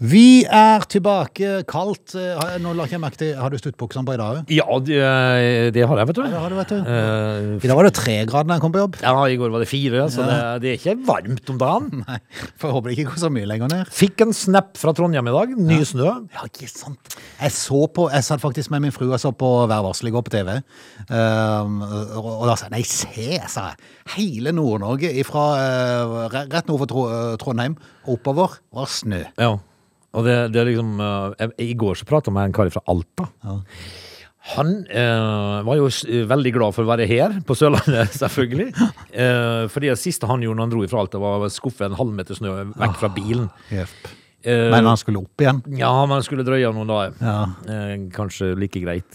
Vi er tilbake kaldt. Eh, har- Nå la ikke jeg merke til Har du stuttbuksene på i dag òg? Ja, det, eh, det har jeg, vet du. Ja, det har du, vet du. Eh, I dag var det tre grader da jeg kom på jobb. ja, I går var det fire, så det, det er ikke varmt om dagen. Nei, for jeg håper det ikke går så mye lenger ned. Fikk en snap fra Trondheim i dag. Ny snø. Ja, ikke sant. Jeg så på, jeg satt faktisk med min frue og så på Vær varsel i går på TV. Ehm, og, og da sa jeg nei, se, sa jeg. Hele Nord-Norge fra rett nord for Tro- eh, Trondheim og oppover var snø. Ja. Og det, det er liksom eh, jeg- I går så prata jeg med en kar fra Alta. Han eh, var jo s- veldig glad for å være her, på Sørlandet selvfølgelig. Eh, fordi det siste han gjorde når han dro fra Alta, var å skuffe en halvmeter snø vekk fra bilen. Eh, Ah. Men han skulle opp igjen. Ja, man skulle drøye noen dager. Ja. Eh, kanskje like greit.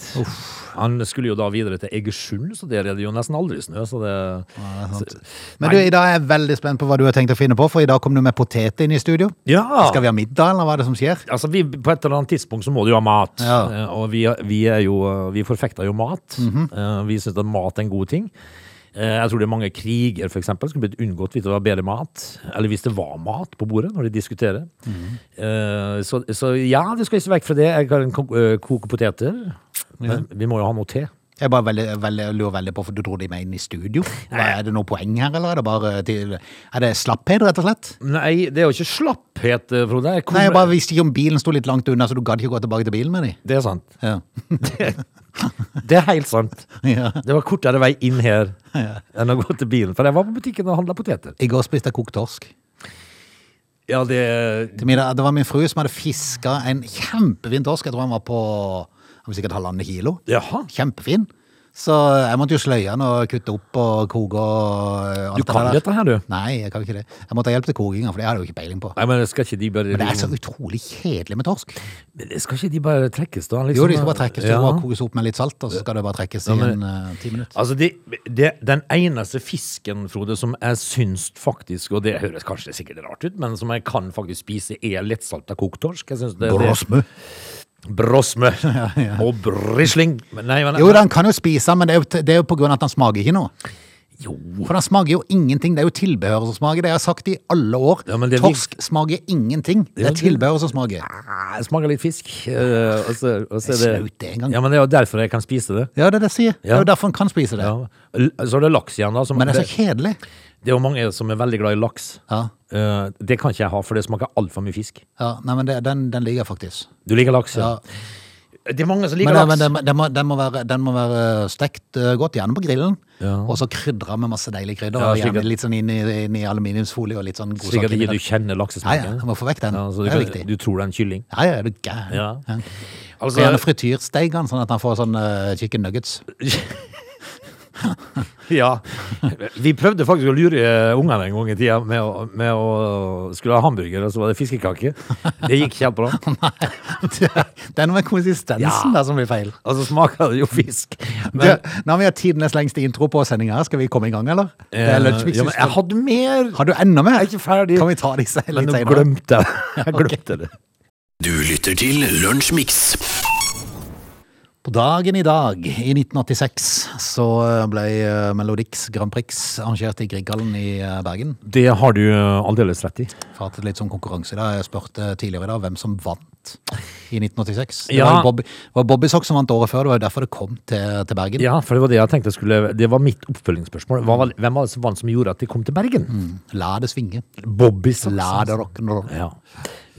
Han skulle jo da videre til Egersund, så der er det jo nesten aldri snø. Så det, det er sant. så- Men du, i dag er jeg veldig spent på hva du har tenkt å finne på, for i dag kom du med potet inn i studio. ja! Skal vi ha middag, eller hva er det som skjer? Altså, vi, på et eller annet tidspunkt så må du jo ha mat. Ja. Eh, og vi, er- vi er jo eh, Vi forfekter jo mat. Mhm. Eh, vi syns at mat er en god ting. Eh, jeg tror det er mange kriger for eksempel, skulle blitt unngått hvis det var bedre mat. Eller hvis det var mat på bordet når de diskuterer. Mhm. Eh, så, så ja, det skal ikke vekk fra det. Jeg kan ko- eh, koke poteter. Men vi må jo ha noe te. Jeg bare veldig, veldig, lurer veldig på, for du dro de med inn i studio. Hva, er det noe poeng her, eller er det bare til, er det slapphet, rett og slett? Nei, det er jo ikke slapphet, eh, Frode. Jeg kommer- Nei, jeg bare visste ikke om bilen sto litt langt unna, så du gadd ikke gå tilbake til bilen med de. Det er sant. Ja. Det er helt sant. Ja. Det var kortere vei inn her enn å gå til bilen. For jeg var på butikken og handla poteter. I går spiste jeg kokt torsk. Ja, det Til middag, det var min frue som hadde fiska en kjempefin torsk. Jeg tror han var på han var sikkert halvannen kilo. Jaha. Kjempefin. Så jeg måtte jo sløye den og kutte opp og koke og eh, alt Du kan det der. dette her, du. Nei, jeg kan ikke det. Jeg måtte ha hjelp til kokinga, for det hadde jeg jo ikke peiling på. Nei, men skal ikke de bare Men det er så utrolig kjedelig med torsk. Men Skal ikke de bare trekkes, da? liksom? Jo, de skal bare trekkes Ja. og bare kokes opp med litt salt, og så skal det bare trekkes i en eh, ti minutter. Altså, det- det- Den eneste fisken, Frode, som jeg syns faktisk Og det høres kanskje sikkert rart ut, men som jeg kan faktisk spise, er lettsalta kokt torsk. Jeg synes det, det, Brosmø. brosme og brisling. Men Nei, men Jo, den kan jo spise, men det er jo, det er jo på grunn av at den smaker ikke noe. Jo. For den smaker jo ingenting. Det er jo tilbehøret som smaker. Det har jeg sagt i alle år. Ja, men det er vi- Torsk smaker ingenting. Det Ja, er det- tilbehøret som smaker. Ah, Det smaker litt fisk. eh, og så, og så Det er er snaut det en gang. Ja, men det er jo derfor jeg kan spise det. Ja, det er det jeg sier. Det Ja. er jo derfor en kan spise det. Ja. L- Så er det laks igjen, da. Som, Men det er så det, kjedelig. det er jo mange som er veldig glad i laks. Ja. Eh, det kan ikke jeg ha, for det smaker altfor mye fisk. Ja, nei, men det, den, den liker jeg faktisk. Du liker laks? Ja. Det er mange som liker Men, laks. men den, den, må, den, må være, den må være stekt eh, godt, gjerne på grillen. Ja. Og så krydra med masse deilige krydder. Ja, og slik gjerne at- litt sånn inn i, inn i aluminiumsfolie og litt sånn god Slik at sak inni ikke den. du Nei, kjenner ja, laksesmaken. jeg må få vekk den. Ja, så det du, er kan- viktig. du tror det er en kylling. Ja, ja, er du gæren? Ja. Og gjerne Altså, frityrsteig den, sånn at han får sånn eh, chicken nuggets. ja. Vi prøvde faktisk å lure eh, ungene en gang i tida med å, med å skulle ha hamburger, og så var det fiskekake. Det gikk ikke helt bra. Nei, det det er noe med konsistensen Ja. der som blir feil. Altså smaker det jo fisk. Men, Når vi har tidenes lengste intro på sendinga, skal vi komme i gang, eller? Det er Eh, lunsjmix. ja, men jeg hadde mer! Har du enda mer? Jeg er ikke ferdig. Kan vi ta disse Men litt nå senere? glemte jeg Jeg glemte det. Du lytter til Lunsjmix. På dagen i dag, i 1986, så ble eh, Melodix Grand Prix arrangert i Grieghallen i eh, Bergen. Det har du eh, aldeles rett i. For at det er litt sånn konkurranse i dag. Jeg spurte tidligere i dag hvem som vant i 1986. Det Ja. var jo Bobby, det var Bobby Sock som vant året før, det var jo derfor det kom til, til Bergen. Ja, for det var det jeg tenkte jeg skulle Det var mitt oppfølgingsspørsmål. Hva var, hvem var det som vant som gjorde at de kom til Bergen? La det svinge. Bobby Saxon. La det rock'n'roll. Ja.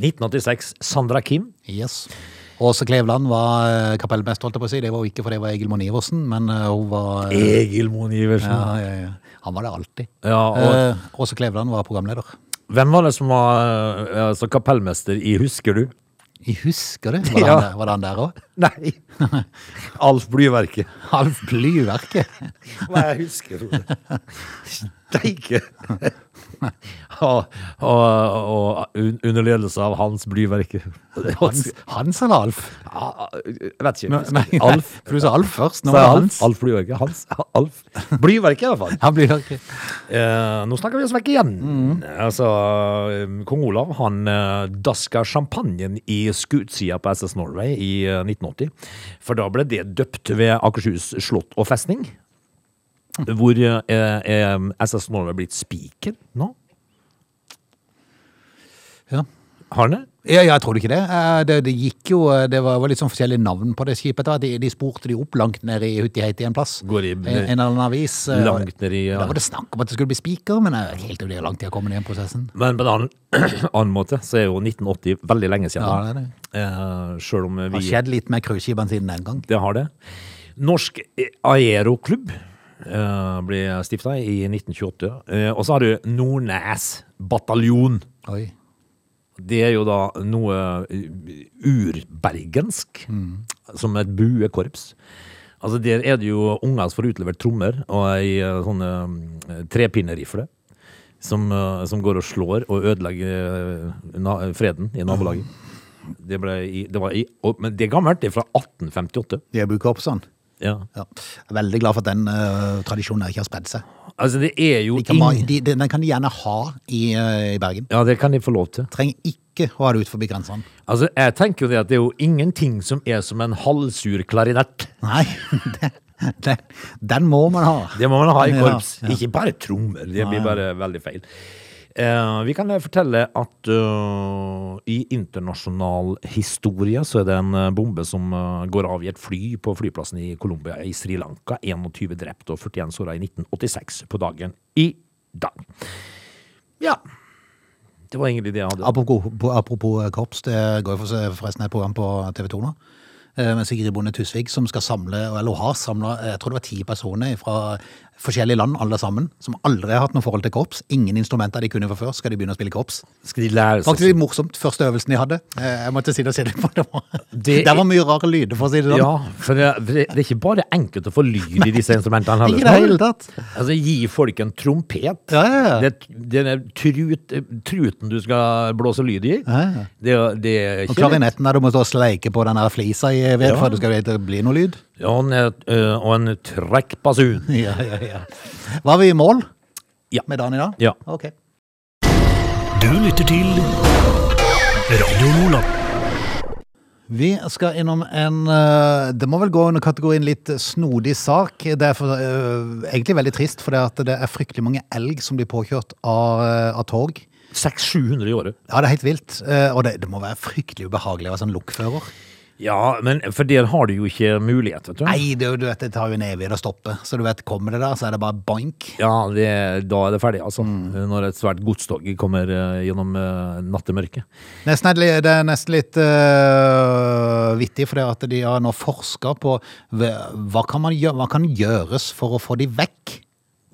1986. Sandra Kim. Yes. Åse Kleveland var eh, kapellmester, holdt jeg på å si. Det var jo ikke fordi det var Egil Monn Iversen, men eh, hun var eh, Egil Moen Iversen. ja, Ja. ja, ja. Han var det alltid. og Eh, Åse Kleveland var programleder. Hvem var det som var eh, altså, kapellmester i Husker du? Jeg husker det. Var det Ja. han der- var det han der òg? Nei! Alf Blyverket. Alf Blyverket. Hva jeg husker, Frode. Steike! og, og, og un- under ledelse av Hans Blyverket. Hans, Hans eller Alf? Ja, Jeg vet ikke. Nei, nei, Alf. For du sa Alf først. Nå Sa var jeg det Alf? Hans. Alf Blyverket. Hans. Alf. Blyverket, i hvert fall. Han blir ikke Eh, nå snakker vi oss vekk igjen. Altså, eh, Kong Olav han eh, daska champagnen i skutsida på SS Norway i eh, 1980. For da ble det døpt ved Akershus slott og festning. Hvor eh, er, er SS Norway blitt spiker nå? Ja. Har han det? Ja, ja, jeg tror ikke det. Eh, Det, det gikk jo, eh, det var, var litt sånn forskjellige navn på det skipet. etter hvert. De, de sporte de opp langt ned i Hutiheit i en plass. Går i- en, en eller annen avis. eh, og Langt ned i ja. Da var det snakk om at det skulle bli spiker, men jeg vet ikke helt hvor langt de har kommet i den prosessen. Men på en annen, annen måte så er jo 1980 veldig lenge siden. Ja, det er det. Eh, Sjøl om Det har vi skjedd litt med cruiseskipene siden den gang. Det har det. Norsk Aeroklubb eh, ble stifta i 1928. Eh, og så har du Nordnes bataljon. Oi. Det er jo da noe eh, urbergensk, som et buekorps. Altså Der er det jo unger som får utlevert trommer og ei eh, sånn eh, trepinnerifle. Som, eh, som går og slår og ødelegger eh, na freden i nabolaget. Det, ble i, det var i, og, men det er gammelt, det er fra 1858. De har brukt opp sånn. Ja. Ja. Jeg er veldig glad for at den eh, tradisjonen her ikke har spredd seg. Altså, det er jo De kan, ma- ingen de, de, den kan de gjerne ha i, eh, i Bergen. Ja, det kan de få lov til. Trenger ikke å ha det ut forbi grensene. Altså, jeg tenker jo det at det er jo ingenting som er som en halvsur klarinett. Nei, det, det, den må man ha. Det må man ha i Ja, korps. ja. Ikke bare trommer. Det Nei. blir bare veldig feil. Eh, vi kan eh, fortelle at eh, i internasjonal historie så er det en eh, bombe som eh, går av i et fly på flyplassen i Colombia i Sri Lanka. 21 drept og 41 såra i 1986 på dagen i dag. Ja. Det var egentlig det jeg hadde. Apropos, på- apropos eh, korps, det går jo for- forresten et program på TV 2 nå. eh, Med Sigrid Bonde Tusvik, som skal samle, eller hun har samla, jeg tror det var ti personer fra forskjellige land, alle sammen, som aldri har hatt noe forhold til korps. Ingen instrumenter de kunne fra før, skal de begynne å spille korps. Skal de lære seg Faktisk litt morsomt, første øvelsen de hadde. Eh, Jeg måtte sitte og se det på. Det var, Det- Der var mye rare lyder, for å si det sånn. Ja, for det, for det det er ikke bare enkelt å få lyd i disse instrumentene. Ikke i det heller. hele tatt. Altså, gi folk en trompet. Ja, ja, ja. Det, den er trut, truten du skal blåse lyd i, Ja, ja. det, det er Og ikke klarinetten der du må stå og sleike på den her flisa i ved Ja. for at det skal det bli noe lyd. Ja, og en, øh, og en trekkbasun. Ja, ja, ja. Var vi i mål Ja. med dagen i dag? Ja. Ok. Du lytter til Radio Lola. Vi skal innom en eh, Det må vel gå under kategorien litt snodig sak. Det er for, eh, egentlig veldig trist, for det, at det er fryktelig mange elg som blir påkjørt av, eh, av tog. 600-700 i året. Ja, det er helt vilt. eh, og det, det må være fryktelig ubehagelig å være sånn lokfører. Mm. Ja, men for der har du jo ikke mulighet, vet du. Nei, det, er jo- du vet, det tar jo en evighet å stoppe. Så du vet, kommer det der, så er det bare bank. Ja, det, da er det ferdig, altså. Mm. Når et svært godstog kommer øh, gjennom øh, nattemørket. Nesten er det, li- det er nesten litt eh, vittig, for det at de har nå forska på hva, hva kan man gjøre, hva kan gjøres for å få de vekk.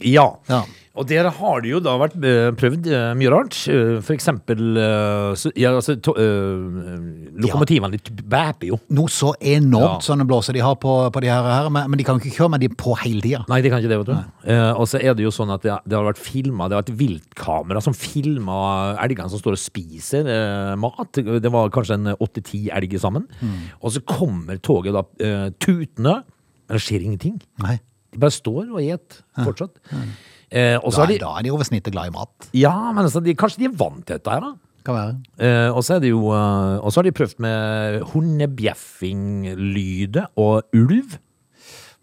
Ja. Ja. Og der har det jo da vært eh, prøvd eh, mye rart. Eh, For eksempel eh, så, ja, altså, to, eh, Lokomotivene de bæper jo. noe så enormt Ja. sånne blåser de har på, på de her, her men, men de kan jo ikke kjøre med de på hele tida. Nei, de kan ikke det, vet du. Eh, og så er det jo sånn at det, det har vært filma, det har vært viltkamera som filma elgene som står og spiser eh, mat. Det var kanskje en åtte-ti elger sammen. Og så kommer toget da eh, tutende, men det skjer ingenting. Nei. De bare står og et fortsatt. Eh, og så Da, har de da er de over snittet glad i mat. Ja, men altså, de, kanskje de er vant til dette her, da. Kan være. Eh, og så er det jo eh, Og så har de prøvd med hundebjeffing-lyder og ulv.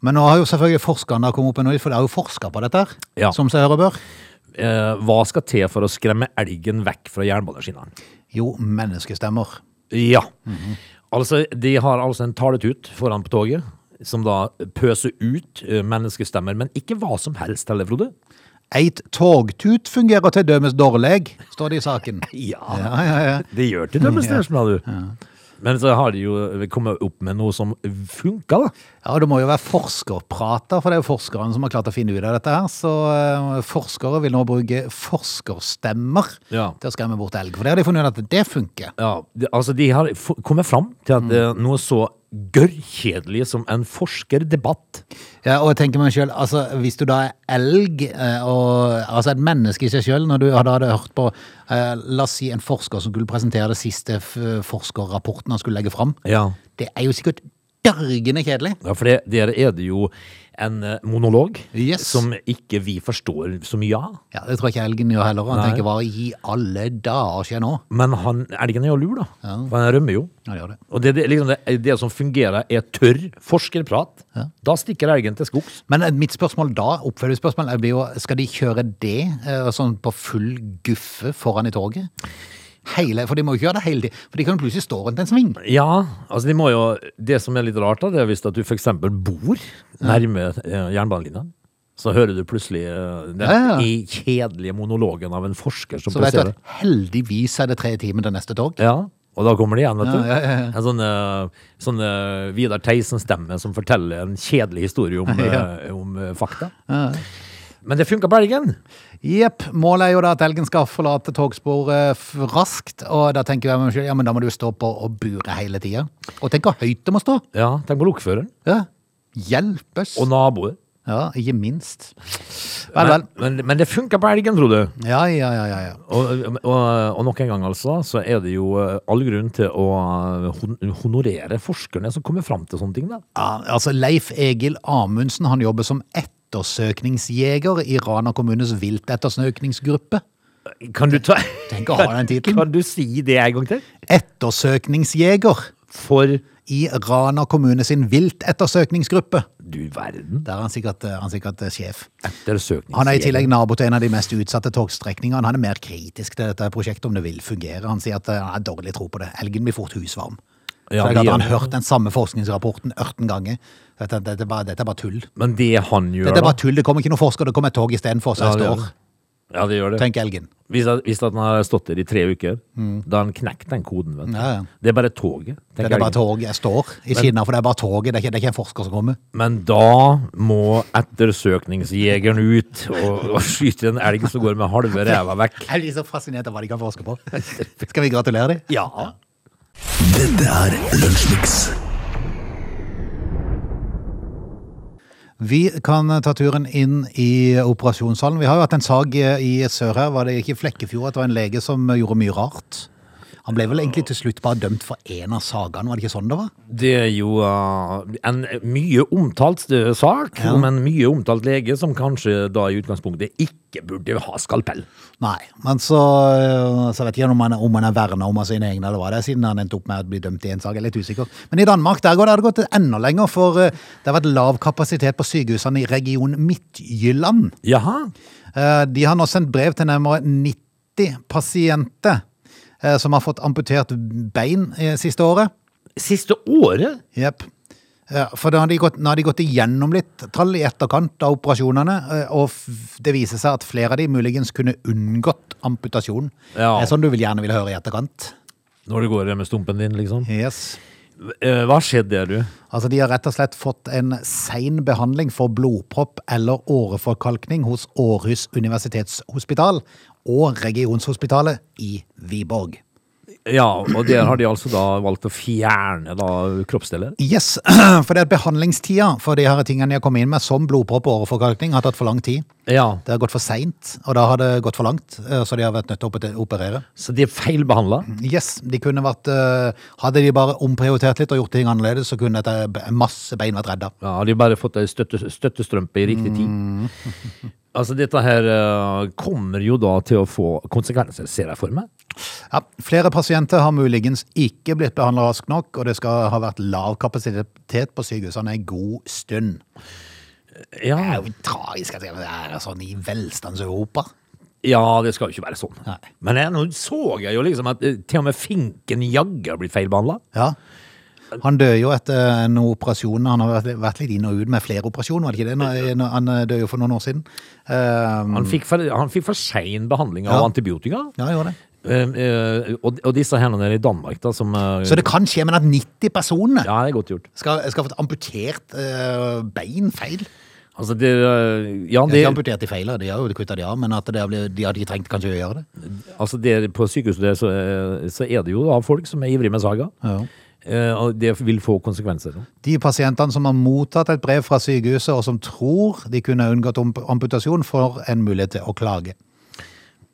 Men nå har jo selvfølgelig forskerne kommet opp med noe, for de har jo forska på dette, her, Ja. som seg hør og bør. Eh, hva skal til for å skremme elgen vekk fra jernbaneskinnene? Jo, menneskestemmer. Ja. Altså, de har altså en taletut foran på toget, som da pøser ut eh, menneskestemmer, men ikke hva som helst heller, Frode. Eit togtut fungerer til dømes dårleg, står det i saken. Ja, Ja, ja, ja. det gjør til dømmes, det, skjønner du. Men så har de jo kommet opp med noe som funka, da. Ja, og Det må jo være forskerprater, for det er jo forskerne som har klart å finne ut av dette. her, Så eh, forskere vil nå bruke forskerstemmer Ja. til å skremme bort elg. For det har de funnet ut at det funker. Ja, de, altså de har f- kommet fram til Mm. at eh, noe så gørrkjedelig som en forskerdebatt Ja, og jeg tenker meg selv, altså hvis du da er elg, eh, og, altså et menneske i seg selv, når du da hadde hørt på, eh, la oss si en forsker som skulle presentere det siste f- forskerrapporten han skulle legge fram, Ja. det er jo sikkert dørgende kjedelig. Ja, for det, der er det jo en eh, monolog Yes. som ikke vi forstår så mye av. Ja, Det tror jeg ikke Elgen gjør heller. Han Nei. tenker hva i alle dager skjer nå? Men han, elgen er jo lur, da. Ja. For han rømmer jo. Ja, det gjør det. Og det, det, liksom det, det som fungerer, er tørr forskerprat. Ja. Da stikker elgen til skogs. Men eh, mitt spørsmål da, oppfølgingsspørsmål, blir jo skal de kjøre det eh, sånn på full guffe foran i toget? Hele, for de må jo ikke gjøre det hele tiden. For de kan jo plutselig stå rundt en sving. Ja, altså de må jo Det som er litt rart, da, det er hvis at du f.eks. bor nærme eh, jernbanelinja. Så hører du plutselig eh, den Ja, ja. i kjedelige monologen av en forsker som Så vet du plasserer. at heldigvis er det tre timer til neste tog. Ja, og da kommer det igjen, vet Ja, du. ja, ja, ja. En sånn, eh, sånn eh, Vidar Theisen-stemme som forteller en kjedelig historie om, eh, om eh, fakta. Men det funka på elgen. Jepp. Målet er jo da at elgen skal forlate togsporet f- raskt. Og da tenker jeg meg selv, ja, men da må du jo stå på og bure hele tida. Og tenk hvor høyt det må stå! Ja, tenk på lokføreren Ja. Hjelpes! og naboer. Ja, ikke minst. Vel, Men, vel. men, men det funka på elgen, tror du. Ja, ja, ja, ja. ja. Og, og, og nok en gang, altså, så er det jo eh, all grunn til å eh, hon- honorere forskerne som kommer fram til sånne ting. da. ja altså Leif Egil Amundsen han jobber som ettersøkningsjeger i Rana kommunes viltettersøkningsgruppe. Kan du ta Tenk å ha den tittelen. Kan du si det en gang til? Ettersøkningsjeger For i Rana kommune sin viltettersøkningsgruppe. du verden. Der er han sikkert, eh, han er sikkert sjef. Ettersøkning. Han er i tillegg nabo til en av de mest utsatte togstrekningene. Han er mer kritisk til dette prosjektet om det vil fungere. Han sier at eh, han har dårlig tro på det. Elgen blir fort husvarm. så det er Ja, det klart, han gjør har hørt den samme forskningsrapporten 18 ganger. Dette, dette, er bare- dette er bare tull. Men det han gjør, Dette er bare tull. Det kommer ikke noen forsker, det kommer et tog istedenfor, så Ja, jeg det gjør står. det. Ja, det gjør det. Tenk elgen. Hvis, at, hvis at han har stått der i tre uker, da har han knekt den koden. vet du. Ja, ja. Det er bare toget. tenker Dette er bare jeg. tog. Jeg står i siden av, for det er bare toget. Det er ikke, det er ikke en forsker som kommer. Men da må ettersøkningsjegeren ut og, og skyte en elg som går med halve ræva vekk. Jeg blir så fascinert av hva de kan forske på. Skal vi gratulere dem? Ja. Dette er Lunsjmix. Vi kan ta turen inn i operasjonssalen. Vi har jo hatt en sag i sør her. Var det ikke i Flekkefjord at det var en lege som gjorde mye rart? Han ble vel egentlig til slutt bare dømt for én av sagene, var det ikke sånn det var? Det er jo uh, en mye omtalt eh, sak om en mye omtalt lege som kanskje da i utgangspunktet ikke burde ha skalpell. Nei, men så, eh, så vet jeg ikke om han, om han er verna om av sine egne, eller hva det er, siden han endte opp med å bli dømt i en sak. Jeg er litt usikker. Men i Danmark der går det, har det gått enda lenger, for eh, det har vært lav kapasitet på sykehusene i region Midtjylland. Jaha. Eh, De har nå sendt brev til nærmere 90 pasienter eh, som har fått amputert bein eh, siste året. Siste året? Jepp. Ja, For da har de gått, nå har de gått igjennom litt tall i etterkant av operasjonene, eh, og f- det viser seg at flere av de muligens kunne unngått amputasjon. Ja. Det er sånn du vil gjerne vil høre i etterkant. Når det går med stumpen din, liksom. Yes. Eh, Hva skjedde der, du? Altså, de har rett og slett fått en sein behandling for blodpropp eller åreforkalkning hos Århus universitetshospital og regionshospitalet i Viborg. Ja, og der har de altså da valgt å fjerne da kroppsdeler. Yes, for det er behandlingstida for de her tingene jeg kom inn med, som blodpropp og åreforkalkning, har tatt for lang tid. Ja, Det har gått for seint, og da har det gått for langt, eh, så de har vært nødt til å ope- operere. Så de er feilbehandla? Yes, de kunne vært eh, Hadde de bare omprioritert litt og gjort ting annerledes, så kunne dette be- masse bein vært redda. Ja, har de bare fått ei støtte, støttestrømpe i riktig tid? Altså, dette her eh, kommer jo da til å få konsekvenser, ser jeg for meg. Ja, flere pasienter har muligens ikke blitt behandla raskt nok, og det skal ha vært lav kapasitet på sykehusene en god stund. Det Ja, er jo tragisk at det er sånn i velstands-Europa. ja det skal jo ikke være sånn. Nei. Men jeg, nå så jeg jo liksom at eh, til og med finken jaggu har blitt feilbehandla. Ja. Han døde jo etter en operasjon. Han har vært- vært litt inn og ut med flere operasjoner, var det ikke det? Når- når- Han døde jo for noen år siden. Eh, Han fikk for, han fikk for sein behandling av Ja. antibiotika. ja, han gjorde det. Eh, eh, og, og disse her nede i Danmark, da, som eh, Så det kan skje, men at 90 personer Ja, det er godt gjort. skal, skal ha fått amputert eh, bein feil? Altså, det eh, De Ja, har det ikke amputert de feil, de har jo kuttet de av, men at det har blitt, de hadde ikke trengt kanskje å gjøre det. Altså der, på sykehuset der, så, eh, så er det jo da folk som er ivrige med saga. Ja. Eh, og det vil få konsekvenser. De pasientene som har mottatt et brev fra sykehuset og som tror de kunne unngått om- amputasjon, får en mulighet til å klage.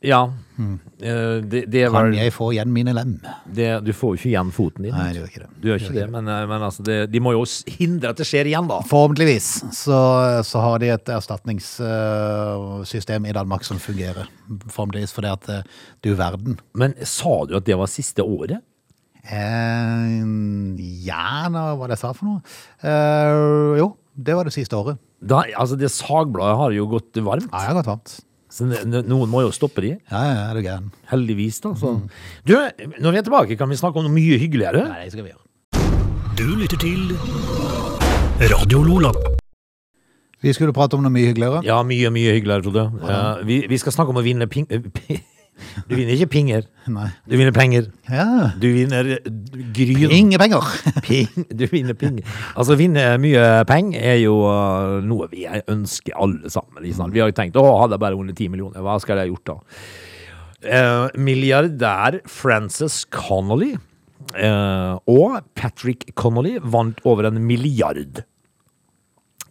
Ja. Mm. Eh, Det, det er Kan vel jeg få igjen mine lem? det, Du får jo ikke igjen foten din. Nei, det gjør ikke det. Du gjør ikke det, men, eh, men altså, det, de må jo s- hindre at det skjer igjen, da. Forhåpentligvis så, så har de et erstatningssystem i Danmark som fungerer. Forhåpentligvis fordi at eh, du verden. Men sa du at det var siste året? Eh, ja, nå, hva det jeg sa for noe? Eh, jo, det var det siste året. Da, altså, det sagbladet har jo gått varmt, Ja, jeg har gått varmt. så n- n- noen må jo stoppe de. Ja, ja, er du gæren. Heldigvis, da. Så. Du, når vi er tilbake, kan vi snakke om noe mye hyggeligere. Nei, det skal vi gjøre. Du lytter til Radio Lola. Vi skulle prate om noe mye hyggeligere. Ja, mye, mye hyggeligere, Frode. Eh, vi, vi skal snakke om å vinne ping... eh, pi- Du vinner ikke penger. Nei. Du vinner penger. Ja. Du vinner eh, gryn. Ringepenger! Ping. Du vinner penger. Altså, vinne mye penger er jo eh, noe vi ønsker alle sammen. Ikke sant? Vi har jo tenkt å, hadde jeg bare vunnet ti millioner, hva skal jeg ha gjort da? Eh, milliardær Frances Connolly eh, og Patrick Connolly vant over en milliard.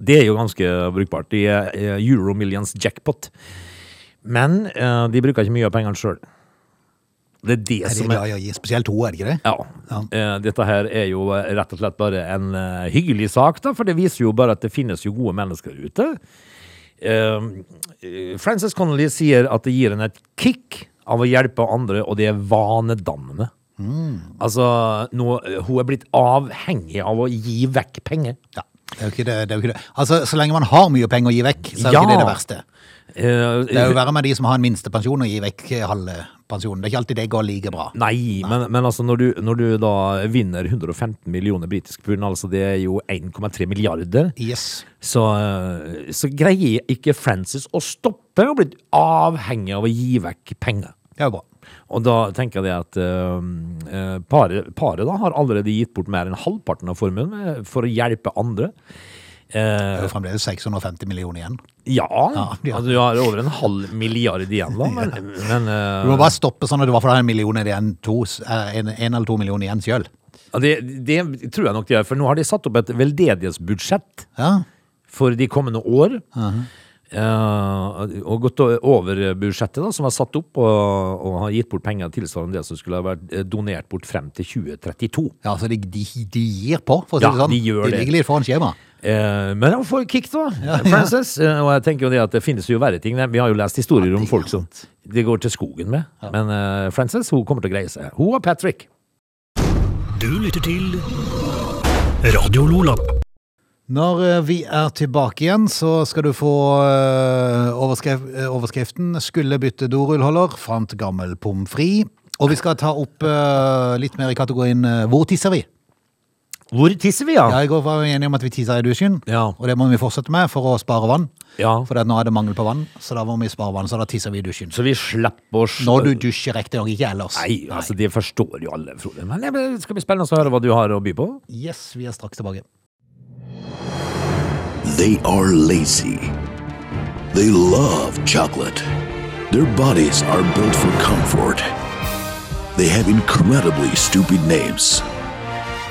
Det er jo ganske brukbart. De er eh, Euro Millions jackpot. Men eh, de bruker ikke mye av pengene sjøl. Det er det Er de som er glad i å gi spesielt to, er de ikke det? ja. Eh, Dette her er jo eh, rett og slett bare en eh, hyggelig sak, da, for det viser jo bare at det finnes jo gode mennesker ute. Eh, eh, Frances Connolly sier at det gir henne et kick av å hjelpe andre, og det er vanedannende. Altså, nå, eh, hun er blitt avhengig av å gi vekk penger. Ja. Det er jo ikke det, det er jo ikke det. Altså, så lenge man har mye penger å gi vekk, så er jo ikke det det verste. Eh, Det er jo verre med de som har en minstepensjon og gir vekk eh, halve pensjonen. Det er ikke alltid det går like bra. Nei, men, men altså når du, når du da vinner 115 millioner britiske pund, altså det er jo 1,3 milliarder, Yes. så, så greier ikke Francis å stoppe å bli avhengig av å gi vekk penger. Det er jo bra. Og da tenker jeg at eh, eh, paret, paret da har allerede gitt bort mer enn halvparten av formuen eh, for å hjelpe andre. Det Eh, er jo fremdeles 650 millioner igjen. ja, de har- altså, du har over en halv milliard igjen da, men, men eh, Du må bare stoppe sånn at du i hvert fall har en million igjen, to, eh, en, en eller to millioner igjen sjøl. ja, det, det tror jeg nok de gjør, for nå har de satt opp et veldedighetsbudsjett Ja. for de kommende år. Eh, og gått o- over budsjettet da, som er satt opp, og, og har gitt bort penger tilsvarende det som skulle ha vært eh, donert bort frem til 2032. ja, så de, de, de gir på, for å si Ja, det sånn. de gjør det. ligger litt foran skjema. Eh, men hun får kick, da, Frances. Eh, og jeg tenker jo det at det finnes jo verre ting. Vi har jo lest historier om folk som det går til skogen med. Men eh, Frances hun kommer til å greie seg. Hun og Patrick. Du lytter til Radio Lola. Når eh, vi er tilbake igjen, så skal du få eh, overskrift, eh, overskriften 'Skulle bytte dorullholder, fant gammel pommes frites'. Og vi skal ta opp eh, litt mer i kategorien eh, 'Hvor tisser vi?' Hvor tisser vi, ja? Ja, I går var vi enige om at vi tisa i dusjen, Ja. og det må vi fortsette med for å spare vann. Ja. For at nå er det mangel på vann, så da må vi spare vann, så da tisser vi i dusjen. Så vi slipper oss Når du dusjer riktignok ikke ellers. Nei, altså det forstår jo alle, Frode. Men det skal bli spennende å høre hva du har å by på. Yes, vi er straks tilbake. They are lazy. They love chocolate. Their bodies are built for comfort. They have incredibly stupid names.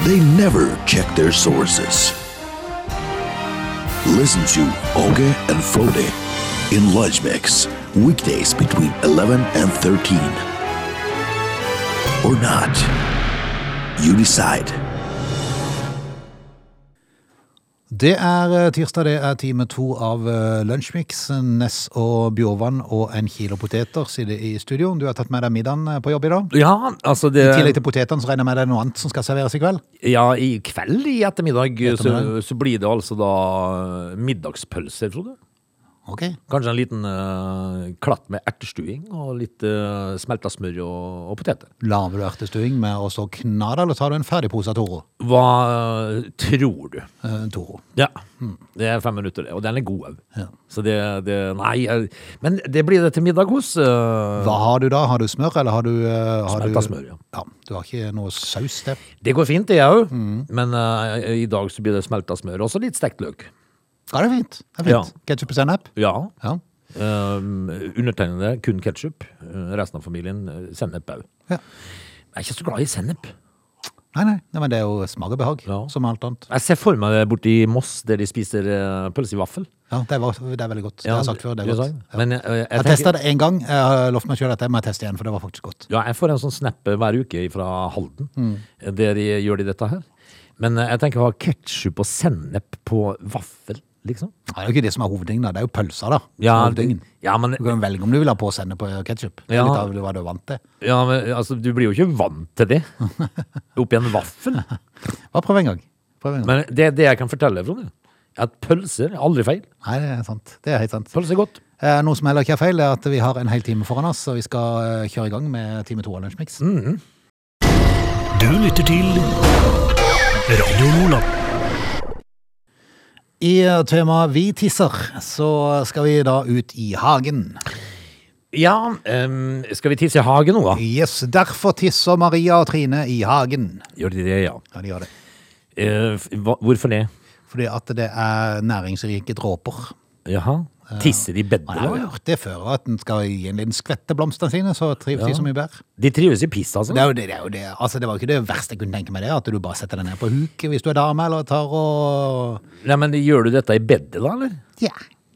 They never check their sources. Listen to Oge and Frode in Lunch Mix, weekdays between 11 and 13. Or not. You decide. Det er eh, tirsdag, det er time to av eh, Lunsjmix. Ness og Bjorvann og en kilo poteter sitter i studio. Du har tatt med deg middagen eh, på jobb i dag. Ja, altså det I tillegg til potetene så regner jeg med det er noe annet som skal serveres i kveld. Ja, i kveld i ettermiddag så, Ettermiddag. så blir det altså da eh, middagspølser, Frode. Ok. Kanskje en liten eh, klatt med ertestuing og litt uh, smelta smør og, og poteter. Lager du ertestuing med å så kna det, eller tar du en ferdig pose av Toro? Hva eh, tror du? Eh, Toro. Ja, det er fem minutter, det. Og den er god òg. Ja. Så det, det Nei, eh, men det blir det til middag hos eh, Hva har du da? Har du smør, eller har du eh, har Smelta du- smør, ja. ja. Du har ikke noe saus til? Det går fint, det òg. Men eh, i dag så blir det smelta smør. Også litt stekt løk. Ja, det er fint. Det er fint. Ja. Ketchup og sennep? Ja. Ja. Um, undertegnede kun ketsjup. Resten av familien eh, sennep òg. Ja. Jeg er ikke så glad i sennep. Nei, nei, nei, men det er jo smak og behag, Ja. som alt annet. Jeg ser for meg det borti Moss, der de spiser eh, pølse i vaffel. Ja, det, var, det er veldig godt. det har jeg sagt før, det du er sa godt. det. Men eh, jeg, jeg, Jeg tenker- testa det én gang. Jeg har lovt meg sjøl at jeg må teste igjen, for det var faktisk godt. Ja, jeg får en sånn snap hver uke fra Halden, Mm. der de gjør de dette her. Men eh, jeg tenker å ha ketsjup og sennep på vaffel, liksom. Nei, Det er jo ikke det som er hoveddingen, da. det er jo pølser, da. Ja, Hoveddingen. ja, men, Du kan jo velge om du vil ha påsende på ketsjup. Ja. Litt av hva du er vant til. ja, men altså, du blir jo ikke vant til det. Oppi en vaffel. Bare prøv en gang. Prøv en gang. Men det, det jeg kan fortelle, Frode, er at pølser er aldri feil. Nei, det er sant. Det er helt sant. Pølser er godt. Eh, Noe som heller ikke er feil, er at vi har en hel time foran oss, og vi skal eh, kjøre i gang med time to av Lunsjmix. Mm. Du lytter til Radio Lola. I eh, temaet Vi tisser, så skal vi da ut i hagen. Ja, em, skal vi tisse i hagen nå, da? Yes, derfor tisser Maria og Trine i hagen. Gjør de det, ja. Ja, de gjør det. Eh, f- hva, hvorfor det? Fordi at det er næringsrike dråper. Jaha. Eh, Tisser de i bedet? Man har jo da? hørt det før, at en skal gi en liten skvett til blomstene sine, så trives de så mye bedre. De trives i piss, altså? Det, er jo det, det, er jo det. Altså, det var jo ikke det verste jeg kunne tenke meg, det, at du bare setter deg ned på huk hvis du er dame, eller tar og Nei, men gjør du dette i bedet, da, eller? Ja,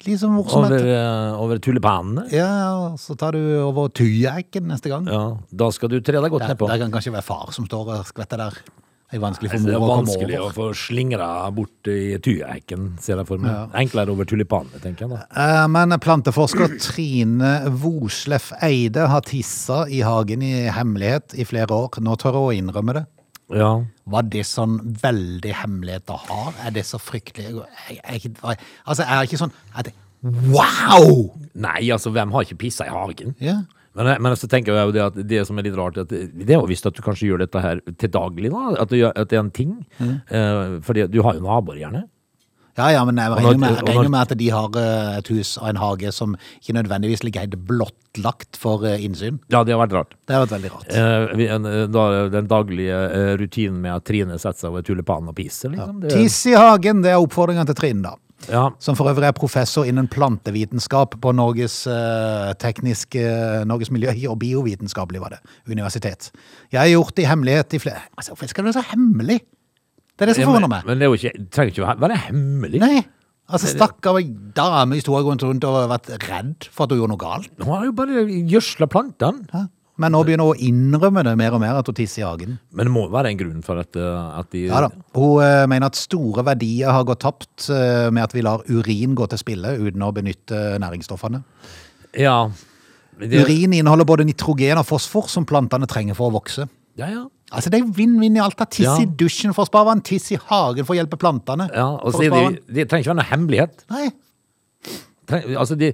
liksom hvor som Over, helst. eh, over tulipanene? Ja, så tar du over tyeeggen neste gang. Ja, da skal du tre deg godt Der, nedpå. der kan kanskje være far som står og skvetter der. Det er vanskelig for Det er mor å komme vanskelig å over. få slingra bort i tueiken, ser jeg for meg. Enklere over tulipanene, tenker jeg da. Eh, Men planteforsker Trine Voslef Eide har tissa i hagen i hemmelighet i flere år. Nå tør hun å innrømme det. Ja. Var det sånn veldig hemmelighet å ha? Er det så fryktelig jeg, jeg, jeg, Altså, jeg er ikke sånn at, Wow! Nei, altså, hvem har ikke pissa i hagen? Ja. Men, eh, men så tenker jeg jo det at det som er litt rart, at det er jo visst at du kanskje gjør dette her til daglig, da. At, du, gjør- at det er en ting. Eh, fordi du har jo naboer, gjerne. ja, ja, men jeg Og når- regner med, jeg og når- regner med at de har eh, et hus og en hage som ikke nødvendigvis ligger helt blottlagt for eh, innsyn. Ja, det har vært rart. Det hadde vært veldig rart. Eh, vi- en, eh, da, den daglige eh, rutinen med at Trine setter seg over tulipanen og pisser, liksom. Det- Tiss i hagen, det er oppfordringa til Trine, da. Ja. Som for øvrig er professor innen plantevitenskap på Norges eh, tekniske Norges miljø- og biovitenskapelig var det, universitet. Jeg har gjort det i hemmelighet i flere Altså, Hvorfor skal det være så hemmelig? Det er det som Ja, forundrer men, meg. men det er jo ikke, det trenger ikke å være hemmelig. Nei. Altså, Stakkar dame i stor grunn rundt og har vært redd for at hun gjorde noe galt. Hun har jo bare gjødsla plantene. Hæ? Men nå begynner hun å innrømme det mer og mer, at hun tisser i hagen. Men det må jo være en grunn for at, eh, at de Ja da. Hun eh, mener at store verdier har gått tapt eh, med at vi lar urin gå til spille uten å benytte næringsstoffene. Ja. Men det- Urin inneholder både nitrogen og fosfor, som plantene trenger for å vokse. Ja, ja. Altså, Det er vinn-vinn i alt. da. Tiss Ja. i dusjen for å spare vann, tiss i hagen for å hjelpe plantene. ja. Og for å så er spare det, det trenger ikke være noe hemmelighet. vann. Nei. Treng, altså, de,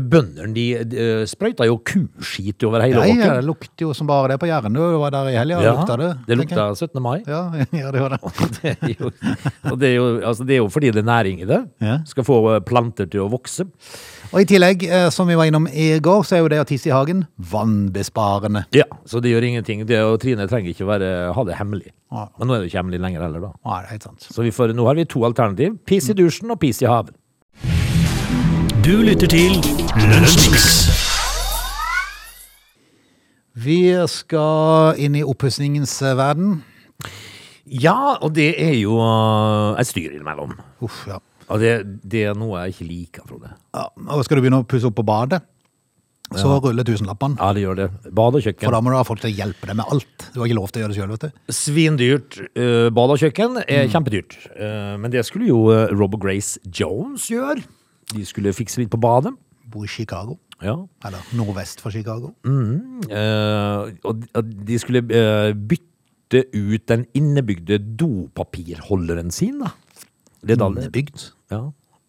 Bøndene de, de sprøyta jo kuskit over hele Nei, ja, det åkeren. lukter jo som bare det på Jæren. Du var der i helga, og lukta det? det tenker lukta jeg. 17. mai. Ja, ja, det gjør det. Det er, jo, og det, er jo, altså det er jo fordi det er næring i det. Ja. Skal få eh, planter til å vokse. Og i tillegg, eh, som vi var innom i går, så er jo det å tisse i hagen vannbesparende. Ja, Så det gjør ingenting. Det, og Trine trenger ikke å være, ha det hemmelig. Ja. Men nå er det jo ikke hemmelig lenger heller, da. Ja, det er helt sant. Så vi får, nå har vi to alternativ. Pis Mm. i dusjen og pis i haven. Du lytter til Lunsjmix. Vi skal inn i oppussingens eh, verden. Ja, og det er jo eh, øh, et styr innimellom. Uff, ja. Og det, det er noe jeg ikke liker, Frode. ja. Og skal du begynne å pusse opp på badet, så ruller tusenlappene. Ja, det gjør det. Bad og For kjøkken. da må du ha folk til å hjelpe deg med alt. Du har ikke lov til å gjøre det sjøl, vet du. Svindyrt. øh, bad og kjøkken er kjempedyrt. Eh, men det skulle jo øh, Rob og Grace Jones gjøre. De skulle fikse litt på badet. Bor i Chicago. Ja. Eller nordvest for Chicago. Mm, Eh, og, og de skulle eh, bytte ut den innebygde dopapirholderen sin, da. Det er da- Innebygd. Mm. Ja.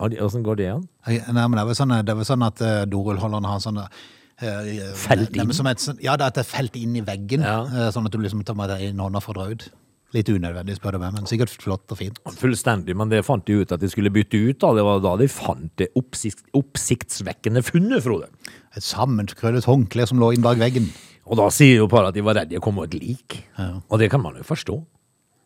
Åssen går det igjen? Nei, men det er vel sånn, det er vel sånn at eh, dorullholderen har sånn Felt inn? Som et, sånn- ja, det er at det er felt inn i veggen, Ja. eh, sånn at du liksom tar med deg inn hånda for å dra ut. Litt unødvendig, spør du meg, men sikkert flott og fint. Fullstendig, men det fant de ut at de skulle bytte ut. da. Det var da de fant det oppsikt, oppsiktsvekkende funnet, Frode. Et sammenkrøllet håndkle som lå inn bak veggen. Og da sier jo paret at de var redd de kom over et lik. Og det kan man jo forstå.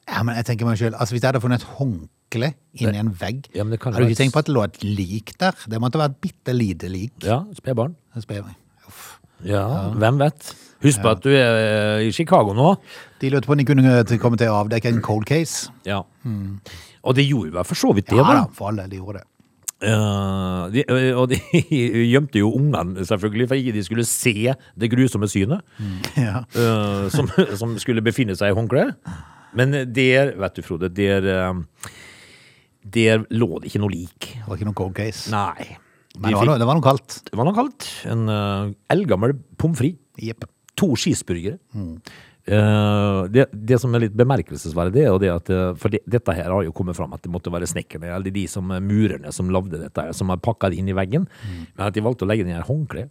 Ja, men jeg tenker meg selv, altså Hvis jeg hadde funnet et håndkle inni en vegg Ja, men det kan Har du ikke være- tenkt på at det lå et lik der? Det måtte være et bitte lite lik. Ja, spedbarn. Jeg spør meg. Uff. Ja, hvem vet? Husk på at du er eh, i Chicago nå. De lurte på om de kunne eh, til- komme til å avdekke en cold case. Ja. Og det gjorde vel for så vidt det, Ja da, da. for alle de gjorde det. Eh, de, og de gjemte jo ungene, selvfølgelig, for ikke de skulle se det grusomme synet Mm. Ja. eh, som, som skulle befinne seg i håndkleet. Men der, vet du, Frode, der, eh, der lå det ikke noe lik. Det var ikke noen cold case. Nei. Men De det var, fikk- noe, det var noe kaldt. det var noe kaldt. En uh, eldgammel pommes frites. Jepp. To cheeseburgere. Eh, det, det som er litt bemerkelsesverdig, det er jo det at eh, For det, dette her har jo kommet fram at det måtte være snekkerne eller de som eh, murerne som lagde dette, her, som har pakka det inn i veggen. Men at de valgte å legge det i et håndkle.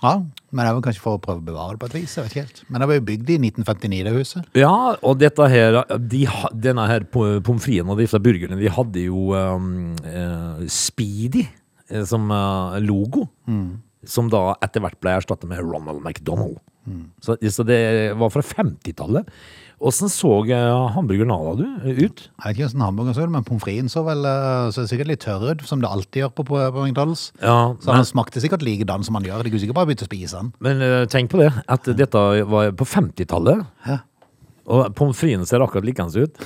Ja, men det var kanskje for å prøve å bevare det på et vis. jeg vet ikke helt. Men det ble jo bygd i 1959, det huset. Ja, og dette her, de, ha- denne her po- pommes fritesen og disse burgerne, de hadde jo um, eh, Speedy eh, som eh, logo, som da etter hvert ble erstattet med Ronald McDonald. Så, så det var fra 50-tallet. Hvordan så eh, hamburgeren Nala du ut? Jeg vet ikke hvordan hamburgeren så ut, men pommes fritesen så vel eh, så sikkert litt tørr ut, som det alltid gjør på, på, på McDonald's. Ja, så han smakte sikkert likedan som han gjør. De kunne sikkert bare begynt å spise den. Men eh, tenk på det, at dette var på 50-tallet, Ja. og pommes fritesen ser akkurat likens ut.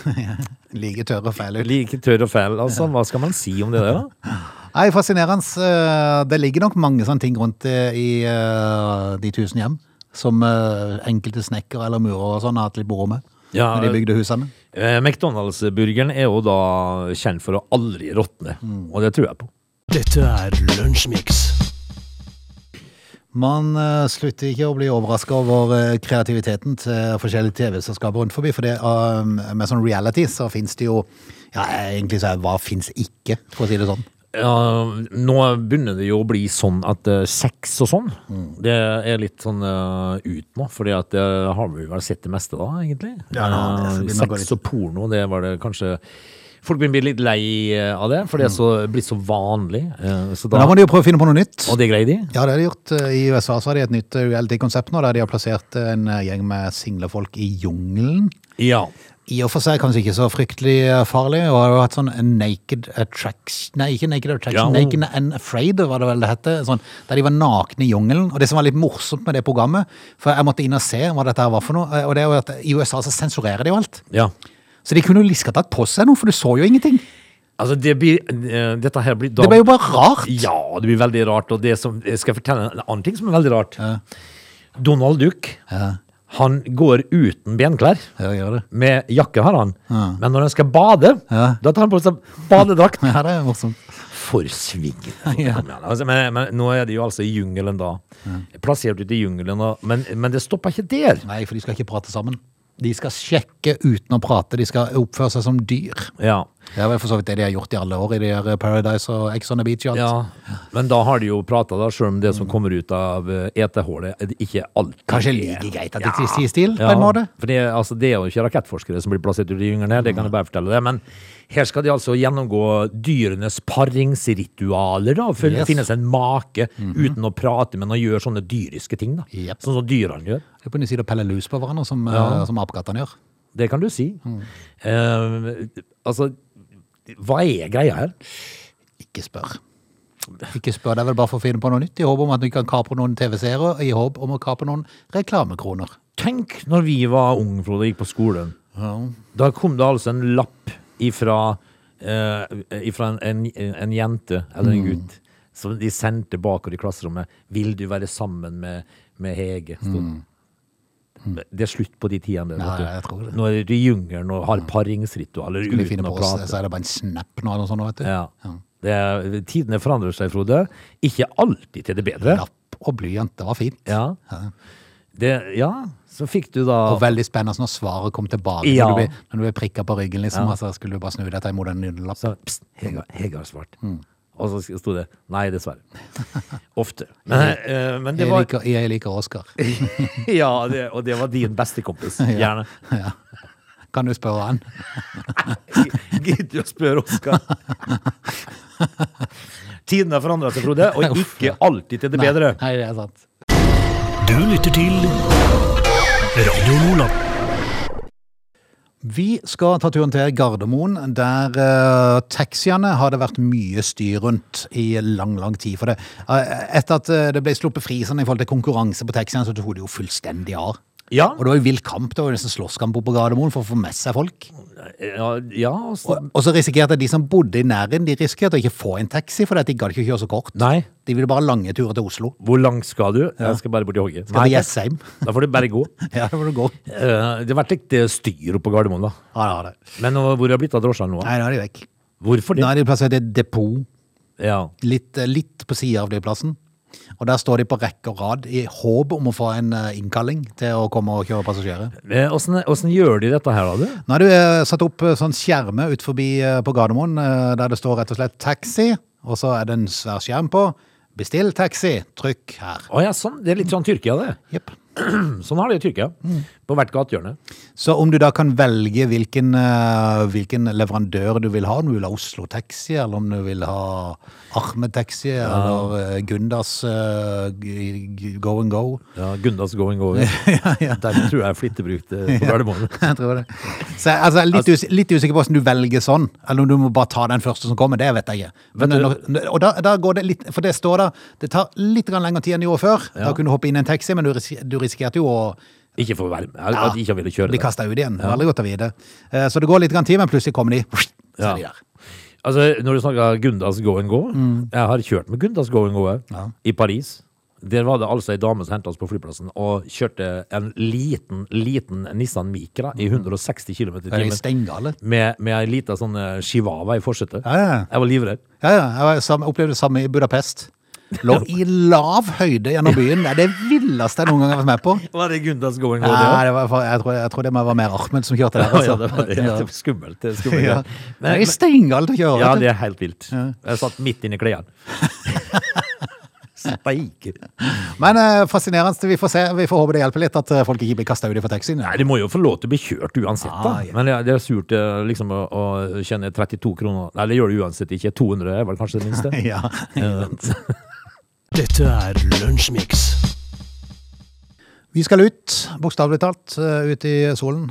Like tørr og feil ut. Like tørr og fæl, altså. Hva skal man si om det der? da? Nei, fascinerende. Eh, Det ligger nok mange sånne ting rundt eh, i eh, de tusen hjem, som eh, enkelte snekkere eller murer og sånn har hatt litt moro med. Ja, når de bygde husene. Eh, McDonald's-burgeren er jo da kjent for å aldri råtne, Mm. og det tror jeg på. Dette er Lunsjmix. Man eh, slutter ikke å bli overraska over eh, kreativiteten til forskjellige TV-selskaper rundt forbi. For det, eh, med sånn reality så fins det jo Ja, egentlig så er hva fins ikke, for å si det sånn. Ja, nå begynner det jo å bli sånn at eh, sex og sånn, Mm. det er litt sånn eh, ut nå, fordi at eh, har vi vel sett det meste da, egentlig? Ja, nå, Eh, så begynner det å gå sex og porno, det var det kanskje... Folk begynner å bli litt lei eh, av det, for det er så, blitt så vanlig. eh, Så Mm. Men da, da må de jo prøve å finne på noe nytt. og det greier de. Ja, det har de gjort. eh, I USA så har de et nytt eh, reality-konsept nå, der de har plassert en eh, gjeng med single folk i jungelen. Ja. I og for seg kanskje ikke så fryktelig eh, farlig, og har jo hatt sånn naked attraction Nei, ikke naked Ja, attraction, og- naked and afraid, var det vel det hette. Sånn, der de var nakne i jungelen. Og det som var litt morsomt med det programmet, for jeg måtte inn og se hva dette her var for noe, eh, og det er jo at i USA så sensurerer de jo alt. ja. Så de kunne jo liska tatt på seg noe, for du så jo ingenting. Altså, det blir, eh, dette her blir... da- Det ble jo bare rart. Ja, det blir veldig rart. Og det som, jeg skal fortelle en annen ting som er veldig rart. Donald Duck han går uten benklær. Ja, gjør det. Med jakke har han, men når han skal bade, da tar han på seg badedrakt. Ja, det er morsomt. For svingende! Kom igjen, Altså, men, men nå er de jo altså i jungelen, da. Plassert ute i jungelen. og- Men, men det stopper ikke der. Nei, for de skal ikke prate sammen. De skal sjekke uten å prate. De skal oppføre seg som dyr. Ja. Det er vel for så vidt det de har gjort i alle år i de her Paradise og Ex on the Beach og alt. ja. Men da har de jo prata, da, sjøl om det som kommer ut av eh, etehullet, er det ikke alltid Kanskje like greit at de sier stil, på en måte. For det, altså, det er jo ikke rakettforskere som blir plassert ute i jungelen her, det kan jeg bare fortelle deg. Men her skal de altså gjennomgå dyrenes paringsritualer, da. For Yes. Mhm. det finnes en make uten å prate, men å gjøre sånne dyriske ting, da. Jep. Sånn som dyrene gjør. Det er på den siden å pelle lus på hverandre, som, eh, som apekattene gjør. Det kan du si. Mhm. Eh, altså, hva er greia her? Ikke spør. Ikke spør, det er vel bare for å finne på noe nytt, i håp om at vi kan kapre noen TV-seere, i håp om å kapre noen reklamekroner. Tenk når vi var unge, Frode, og gikk på skolen. Da kom det altså en lapp ifra, eh, ifra en, en, en jente eller Mm. en gutt som de sendte bakover i klasserommet. 'Vil du være sammen med, med Hege?' stod det. Det er slutt på de tidene. Mm. Nei, vet du. jeg tror det. Nå er det i jungelen og har paringsritualer Skulle de finne uten å på sånn. oss, prate. så er det bare en snap nå eller noe sånt, vet du. Ja. Det er, tidene forandrer seg, Frode. Ikke alltid til det bedre. Lapp og blyant, det var fint. Ja. Det, ja. Så fikk du da Og veldig spennende når svaret kom tilbake, Ja. når, du ble, når du ble prikket på ryggen, liksom, altså, skulle du bare snu deg til imot en nydelapp. Så pst, Hege, Hege har svart. Mm. Og så sto det nei, dessverre. Ofte. Men, eh, men det Jeg var liker, jeg liker Oscar. Ja, det, og det var din bestekompis. Gjerne. Kan du spørre han? Gidder du å spørre Oskar? Tidene har forandra seg, Frode, og ikke alltid til det bedre. Nei, det er sant. Du lytter til Radio Nordland. Vi skal ta turen til Gardermoen, der eh, taxiene har det vært mye styr rundt i lang, lang tid. For det, eh, etter at eh, det ble sluppet fri sånn, i forhold til konkurranse på taxiene, så tok det jo fullstendig av. Ja. Og det var jo vill kamp, det var jo nesten slåsskamp oppe på Gardermoen for å få med seg folk. ja, ja altså. Og, og så risikerte de som bodde i nærheten, de risikerte å ikke få en taxi, for de gadd ikke kjøre så kort. Nei. De ville bare lange turer til Oslo. Hvor langt skal du? Jeg skal bare bort i hogget. Skal til Jessheim. Da får du bare gå. Ja, det må du gå. Ja, Eh, Det har vært litt eh, styr oppe på Gardermoen, da. det har det. Men eh, hvor har det blitt av drosjene nå? da? Nei, nå er de vekk. Hvorfor Nå det? er de plassert i et depot. Ja. litt, eh, litt på sida av flyplassen. Og der står de på rekke og rad i håp om å få en eh, innkalling til å komme og kjøre passasjerer. Eh, Åssen åssen gjør de dette her, da? du? Nå har du eh, satt opp eh, sånn skjerme ut forbi eh, på Gardermoen, eh, der det står rett og slett 'taxi', og så er det en svær skjerm på. 'Bestill taxi', trykk her. Å ja, sånn. Det er litt sånn Tyrkia, det. Jepp. Sånn har de i Tyrkia. Mm. På hvert gatehjørne. Så om du da kan velge hvilken, eh, hvilken leverandør du vil ha, om du vil ha Oslo Taxi, eller om du vil ha Ahmed Taxi, eller eh, Gundas eh, G- G- Go and Go. Ja, Gundas going over. Der tror jeg er flitterbrukt eh, på Gardermoen. Jeg tror det. Så jeg altså, jeg er litt, us litt usikker på hvordan du velger sånn, eller om du må bare ta den første som kommer. Det vet jeg ikke. Men, når- og da, da går det litt, For det står da Det tar litt grann lengre tid enn det gjorde før. Da kunne du hoppe inn i en taxi, men du, ris du risikerte jo å Ikke for å være med. Jeg, at jeg ikke ville kjøre bli det. kasta ut igjen. Veldig godt å vite. Eh, Så det går litt grann tid, men plutselig kommer de. Så er de Ja. der. Altså, når du snakker Gundas go and go Mm. Jeg har kjørt med Gundas go and go jeg, i Paris. Der var det altså ei dame som henta oss på flyplassen og kjørte en liten, liten Nissan Micra Mm. i 160 km i Er de timen. steingale? Med, med ei lita sånn eh, chihuahua i forsetet. Ja, ja, ja. Jeg var livredd. Ja, ja. Jeg var sam- opplevde det samme i Budapest. Lå i lav høyde gjennom byen. Det er det villeste jeg noen gang har vært med på. Var det Gundas go and go? det også? Nei, det var, jeg, tror, jeg tror det var mer Ahmed som kjørte der. Ja, ja, Altså. det var det. Ja. Det var skummelt. Det er skummelt. Ja. ja. Men, det er steingalt å kjøre. ja, vet du. det er helt vilt. Jeg satt midt inni klærne. Steike. Men eh, fascinerende. Vi får, se. vi får håpe det hjelper litt at eh, folk ikke blir kasta ut fra taxien. Nei, de må jo få lov til å bli kjørt uansett, da. Ah, ja. Men det er- det er surt eh, liksom, å, å tjene 32 kroner Nei, det gjør det uansett ikke. 200 er vel kanskje det minste. Ja. Dette er Lunsjmix. Vi skal ut, bokstavelig talt, eh, ut i solen.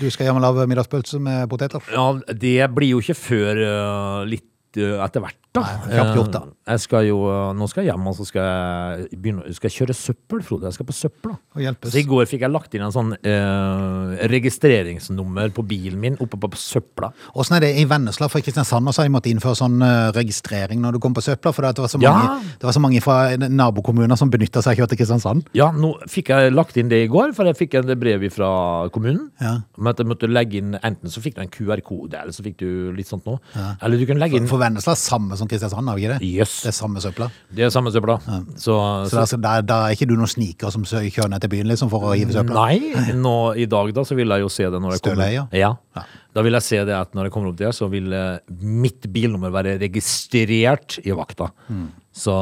Du skal hjem og lage middagspølse med poteter. Ja, det blir jo ikke før eh, litt eh, etter hvert, da. Nei, kjapt gjort, da. Eh, Jeg skal jo, eh, nå skal jeg hjem, og så skal jeg begynne skal jeg kjøre søppel, Frode. Jeg skal på søpla. Og hjelpes. Så I går fikk jeg lagt inn en sånn eh, registreringsnummer på bilen min oppe på, på søpla. Åssen er det i Vennesla? For i Kristiansand også har de måttet innføre sånn eh, registrering når du kom på søpla, for det var så mange, Ja. det var så mange fra eh, nabokommuner som benytta seg av kjøret til Kristiansand. Ja, nå fikk jeg lagt inn det i går, for jeg fikk et brev fra kommunen. Ja. Om at jeg måtte legge inn, Enten så fikk du en QR-kode, eller så fikk du litt sånt noe. Eller du kunne legge inn For Vennesla er samme som Kristiansand, har vi ikke det? Jøss, Det er samme søpla. det er samme søpla. Så, Så der, der, der er ikke du noen sniker som sø- kjører ned til byen liksom, for å hive søpla? Nei, nå i dag da, så vil jeg jo se det når jeg kommer Støleia? Ja. Ja. Da vil jeg se det at når jeg kommer opp der, så vil eh, mitt bilnummer være registrert i vakta. Så,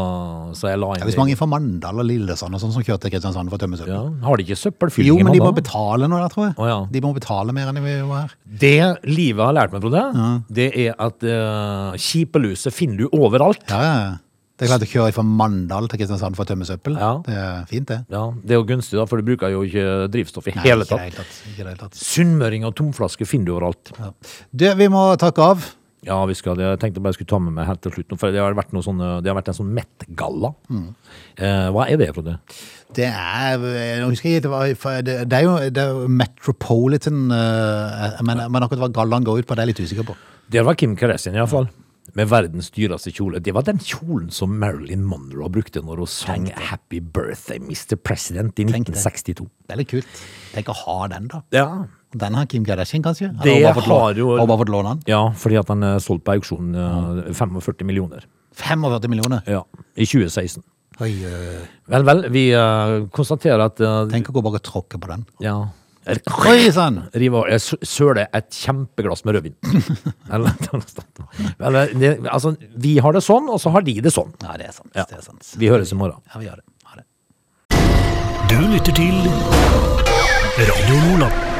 så jeg la inn Mm. Ja, hvis mange fra Mandal og Lillesand og sånn som kjørte til Kristiansand for å tømme søppel. Ja, Har de ikke søppelfylling Jo, i men de må Mandal? betale noe der, tror jeg. Å, ja. De må betale mer enn vi gjør her. Det livet har lært meg, Frode, det er at uh, kjipeluset finner du overalt. Ja. Ja, ja. ja. Det er klart å kjøre fra Mandal til Kristiansand for å tømme søppel. Ja. Det er fint, det. Det er jo gunstig, da, for du bruker jo ikke drivstoff i Nei, hele ikke i det tatt. hele tatt. Ikke i det hele tatt. Sunnmøring og tomflaske finner du overalt. Ja. Du, vi må takke av. Ja, vi skal, det. jeg tenkte bare jeg skulle ta med meg helt til slutt, nå, for det har vært, noe sånne, det har vært en sånn Met-galla. Eh, hva er det, Frode? Det er jeg husker ikke, det, var, for det, det er jo det er jo Metropolitan eh, men, men akkurat hva gallaen går ut på, det er jeg litt usikker på. Det var Kim Kardashian, iallfall. Med verdens dyreste kjole. Det var den kjolen som Marilyn Monroe brukte når hun sang 'Happy Birthday, Mr. President' i Tenk det. 1962. Det er litt kult. Tenk å ha den, da. Ja, Den har Kim Kardashian, kanskje? Eller Det hun bare fått lån- har jo- Hun bare fått låne den. Ja, fordi at han er solgt på auksjon eh, 45 millioner 45 millioner. ja, i 2016. Oi, oi, oi. Vel, vel, vi eh, konstaterer at eh, Tenk å gå bare og tråkke på den. ja, er- Oi sann! river, jeg sø- søler et kjempeglass med rødvin. Eller, det er noe sånt. Vel, vel, det, altså, vi har det sånn, og så har de det sånn. Ja, det er sant. Ja. Det er sant. Vi høres i morgen. Ja, vi gjør det. Ha det. Du lytter til Radio Nordland.